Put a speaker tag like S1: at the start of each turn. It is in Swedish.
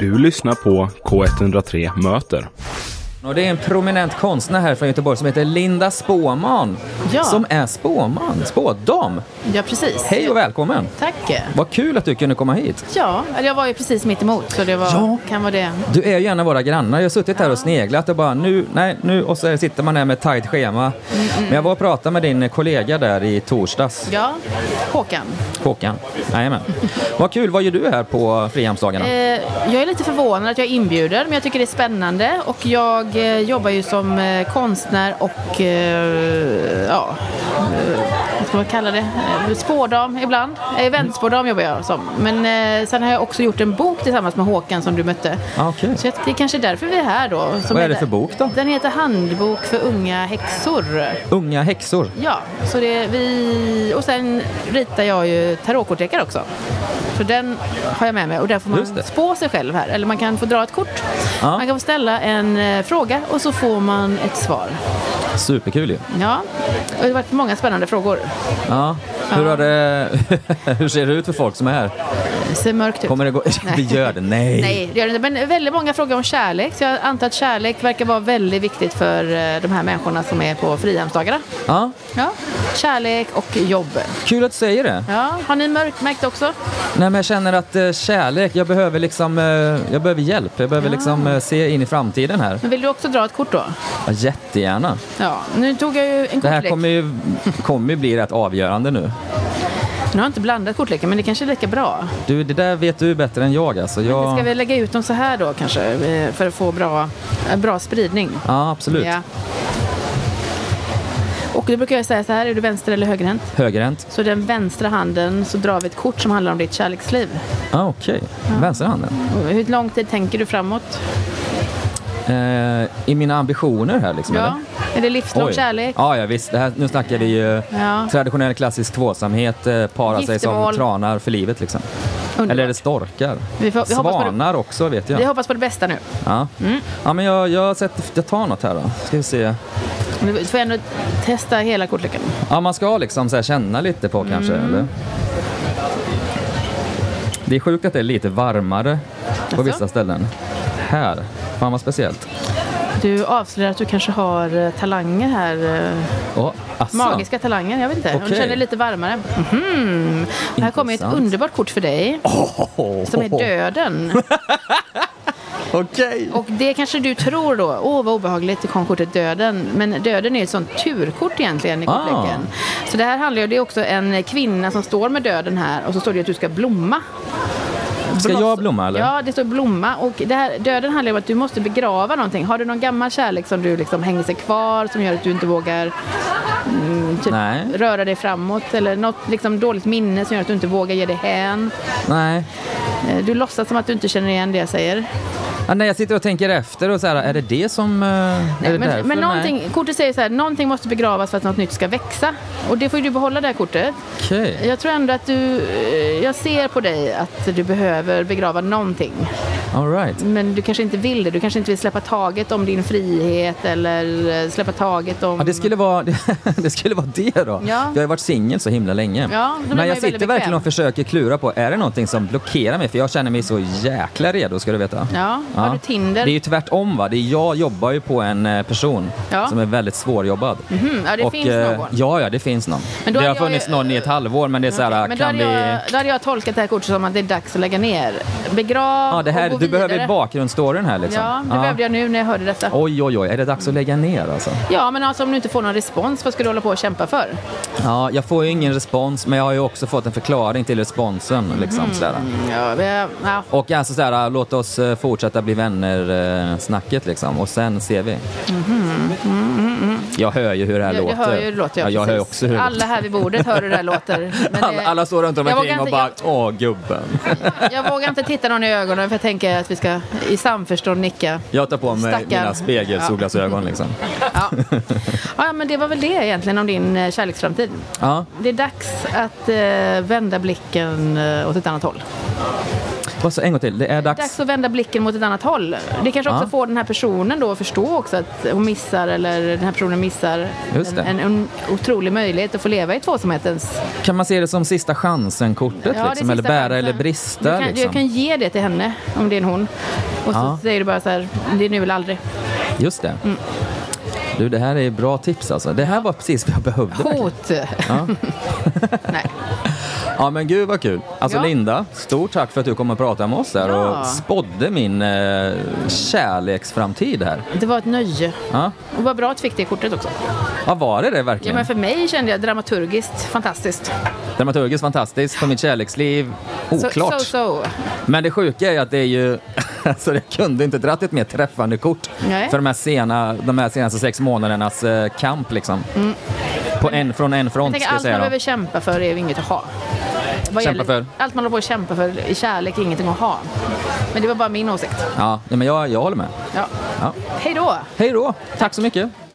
S1: Du lyssnar på K103 Möter.
S2: Och det är en prominent konstnär här från Göteborg som heter Linda Spåman.
S3: Ja.
S2: Som är spåman, spådam.
S3: Ja, precis.
S2: Hej och välkommen.
S3: Tack.
S2: Vad kul att du kunde komma hit.
S3: Ja, eller jag var ju precis mitt emot så det var,
S2: Ja.
S3: kan vara det.
S2: Du är ju en av våra grannar. Jag har suttit här och sneglat och bara nu, nej, nu och så sitter man här med ett tajt schema.
S3: Mm,
S2: Men jag var och pratade med din kollega där i torsdags,
S3: Ja, Håkan.
S2: Håkan. Jajamän. Vad kul, vad gör du här på Frihamnsdagarna?
S3: Eh, jag är lite förvånad att jag är inbjuden men jag tycker det är spännande och jag eh, jobbar ju som eh, konstnär och eh, ja, eh, vad ska man kalla det? Eh, spådam ibland. Eh, eventspådam jobbar jag som. Men eh, sen har jag också gjort en bok tillsammans med Håkan som du mötte.
S2: Ah, okej.
S3: Så jag- det är kanske därför vi är här då. som
S2: Vad är det
S3: heter-
S2: för bok då?
S3: Den heter Handbok för unga häxor.
S2: Unga häxor.
S3: Ja, så det vi... Och sen ritar jag ju tarotkortlekar också. Så den har jag med mig och där får
S2: Just det.
S3: man spå sig själv här. Eller man kan få dra ett kort.
S2: Ja.
S3: Man kan få ställa en eh, fråga och så får man ett svar.
S2: Superkul ju.
S3: Ja, och det har varit många spännande frågor.
S2: Ja. Hur, har det, hur ser det ut för folk som är här?
S3: Det ser mörkt ut.
S2: Kommer det gå? Det gör det?
S3: Nej, det gör det inte. Men väldigt många frågor om kärlek. Så jag antar att kärlek verkar vara väldigt viktigt för eh, de här människorna som är på Frihamnsdagarna.
S2: Ja.
S3: Ja, kärlek och jobb.
S2: Kul att du säger det.
S3: Ja, har ni mörkmärkt också?
S2: Nej, men jag känner att eh, kärlek, jag behöver liksom, eh, jag behöver hjälp. Jag behöver liksom eh, se in i framtiden här.
S3: Men vill du också dra ett kort då?
S2: Ja, jättegärna.
S3: Ja, nu tog jag ju en
S2: Det här
S3: kortlek.
S2: kommer ju, kommer ju bli rätt avgörande nu.
S3: Nu har jag inte blandat kortleken, men det kanske är lika bra.
S2: Du, det där vet du bättre än jag alltså. Jag...
S3: Ska vi lägga ut dem så här då kanske, eh, för att få bra, eh, bra spridning?
S2: Ja, absolut.
S3: Ja. Och då brukar jag säga så här, är du vänster eller högerhänt?
S2: Högerhänt.
S3: Så den vänstra handen så drar vi ett kort som handlar om ditt kärleksliv.
S2: Ah, Okej, vänsterhanden.
S3: Och Hur lång tid tänker du framåt?
S2: Eh, I mina ambitioner här liksom,
S3: Ja.
S2: eller?
S3: Är det livslång
S2: Oj.
S3: kärlek?
S2: Ja, ja visst. Det här, nu snackar vi ju eh,
S3: Ja.
S2: traditionell klassisk tvåsamhet, eh, para sig som
S3: Giftermål.
S2: tranar för livet liksom.
S3: Underbart.
S2: Eller är det storkar?
S3: Vi får- vi hoppas på det.
S2: Svanar också vet jag.
S3: Vi hoppas på det bästa nu.
S2: Ja. ja, men jag, jag, sätter, jag tar något här då. Ska vi se.
S3: Du får ändå testa hela kortleken.
S2: Ja, man ska liksom så här känna lite på kanske,
S3: Mm.
S2: eller? Det är sjukt att det är lite varmare på
S3: Jaså?
S2: vissa ställen. Här. Fan vad speciellt.
S3: Du avslöjar att du kanske har eh, talanger här. eh,
S2: Åh, asså.
S3: Magiska talanger, jag vet inte. Hon
S2: Alltså. Okej.
S3: känner lite varmare. Mhm. Här kommer ett
S2: Intressant.
S3: underbart kort för dig. Som är döden.
S2: Okej.
S3: Och det kanske du tror då, åh vad obehagligt, det kom kortet döden. Men döden är ett sånt turkort egentligen i
S2: Ah.
S3: kortleken. Så det här handlar ju, det är också en kvinna som står med döden här och så står det ju att du ska blomma.
S2: Ska jag blomma eller?
S3: Ja, det står blomma. Och det här, döden handlar ju om att du måste begrava någonting. Har du någon gammal kärlek som du liksom hänger sig kvar som gör att du inte vågar mm, typ,
S2: Nej.
S3: röra dig framåt? Eller något liksom, dåligt minne som gör att du inte vågar ge dig hän?
S2: Nej.
S3: Eh, Du låtsas som att du inte känner igen det jag säger.
S2: Ja, nej, jag sitter och tänker efter och så här, är det det som... eh, är det därför?
S3: men men
S2: Nej.
S3: någonting, kortet säger så här, någonting måste begravas för att något nytt ska växa. Och det får ju du behålla det här kortet.
S2: Okej.
S3: Jag tror ändå att du, eh, jag ser på dig att du behöver begrava någonting.
S2: All right.
S3: Men du kanske inte vill det. Du kanske inte vill släppa taget om din frihet eller eh, släppa taget om...
S2: Ja, det skulle vara det, skulle vara det då.
S3: Ja.
S2: Jag har ju varit singel så himla länge.
S3: då blir man
S2: men
S3: ju
S2: jag sitter
S3: väldigt
S2: verkligen
S3: bekväm.
S2: och försöker klura på, är det någonting som blockerar mig? För jag känner mig så jäkla redo ska du veta.
S3: Ja, har du Tinder?
S2: Det är ju tvärtom va, det är, jag jobbar ju på en eh, person
S3: Ja.
S2: som är väldigt svårjobbad.
S3: Mhm, ja, det finns
S2: eh,
S3: någon.
S2: Ja, ja det finns någon.
S3: Men då
S2: det har
S3: hade jag
S2: funnits
S3: ju-
S2: någon i ett halvår men det är så här,
S3: Men då
S2: kan
S3: hade,
S2: vi...
S3: jag, då hade jag tolkat det här kortet som att det är dags att lägga ner. Begrav
S2: Ja, det här,
S3: och gå
S2: du behöver
S3: vidare.
S2: bakgrundsstoryn här liksom.
S3: Ja, det behövde jag nu när jag hörde detta.
S2: Oj, oj, oj, är det dags att lägga ner alltså?
S3: Ja, men alltså om du inte får någon respons, vad ska du hålla på och kämpa för?
S2: Ja, jag får ju ingen respons, men jag har ju också fått en förklaring till responsen. Liksom,
S3: Mm.
S2: sådär.
S3: Ja, vi- ja,
S2: Och alltså sådär, låt oss eh, fortsätta bli vänner-snacket liksom, och sen ser vi. Jag hör ju hur det här
S3: Mm-hmm. jag,
S2: låter.
S3: jag hör ju hur det låter.
S2: ja, jag hör ju
S3: precis.
S2: också hur det
S3: Alla
S2: låter.
S3: här vid bordet hör hur det här låter. Men
S2: Alla,
S3: det-
S2: alla står runt
S3: jag
S2: omkring
S3: vågar
S2: och
S3: inte-
S2: bara åh gubben.
S3: Jag, jag vågar inte titta någon i ögonen för jag tänker att vi ska i samförstånd nicka.
S2: Jag tar på mig
S3: Stackarn.
S2: mina spegelsolglasögon liksom.
S3: Ja. ja, men det var väl det egentligen om din eh, kärleksframtid.
S2: Ja.
S3: Det är dags att eh, vända blicken eh, åt ett annat håll.
S2: Vad sa- En gång till, det är dags.
S3: Dags att vända blicken mot ett annat håll. Det kanske också
S2: Ja.
S3: får den här personen då att förstå också att hon missar, eller den här personen missar
S2: Just
S3: en,
S2: det.
S3: en, en otrolig möjlighet att få leva i tvåsamhetens...
S2: Kan man se det som sista chansen-kortet?
S3: det är
S2: liksom, eller
S3: sista
S2: bära
S3: chansen.
S2: eller brista?
S3: Du kan,
S2: liksom.
S3: du kan ge det till henne, om det är en hon. Och så
S2: Ja.
S3: säger du bara så här, det är nu eller aldrig.
S2: Just det.
S3: Mm.
S2: Du, det här är bra tips alltså. Det här var precis vad jag behövde. verkligen.
S3: Hot! Nej.
S2: Ja men gud vad kul. Alltså
S3: Ja.
S2: Linda, stort tack för att du kom och pratade med oss här
S3: Ja.
S2: och spådde min eh, kärleksframtid här.
S3: Det var ett nöje.
S2: Ja.
S3: Och vad bra att du fick det kortet också.
S2: ja, var det det
S3: Ja,
S2: verkligen?
S3: men för mig kände jag dramaturgiskt fantastiskt.
S2: Dramaturgiskt fantastiskt, för mitt kärleksliv
S3: Så-
S2: oklart.
S3: So, so.
S2: Men det sjuka är att det är ju, alltså jag kunde inte dratt ett mer träffande kort
S3: Nej.
S2: för de här, sena, de här senaste sex månadernas eh, kamp liksom. På en, från en
S3: Mm. Jag
S2: front
S3: tänker,
S2: ska jag
S3: allt man
S2: säga då.
S3: behöver kämpa för är ju inget att ha.
S2: Kämpa
S3: Vad gäller-
S2: för?
S3: Allt man håller på att kämpa för i kärlek är ingenting att ha. Men det var bara min åsikt.
S2: Ja, nej, men jag, jag håller med.
S3: Ja.
S2: Ja.
S3: Hej då!
S2: Hej då, tack så mycket.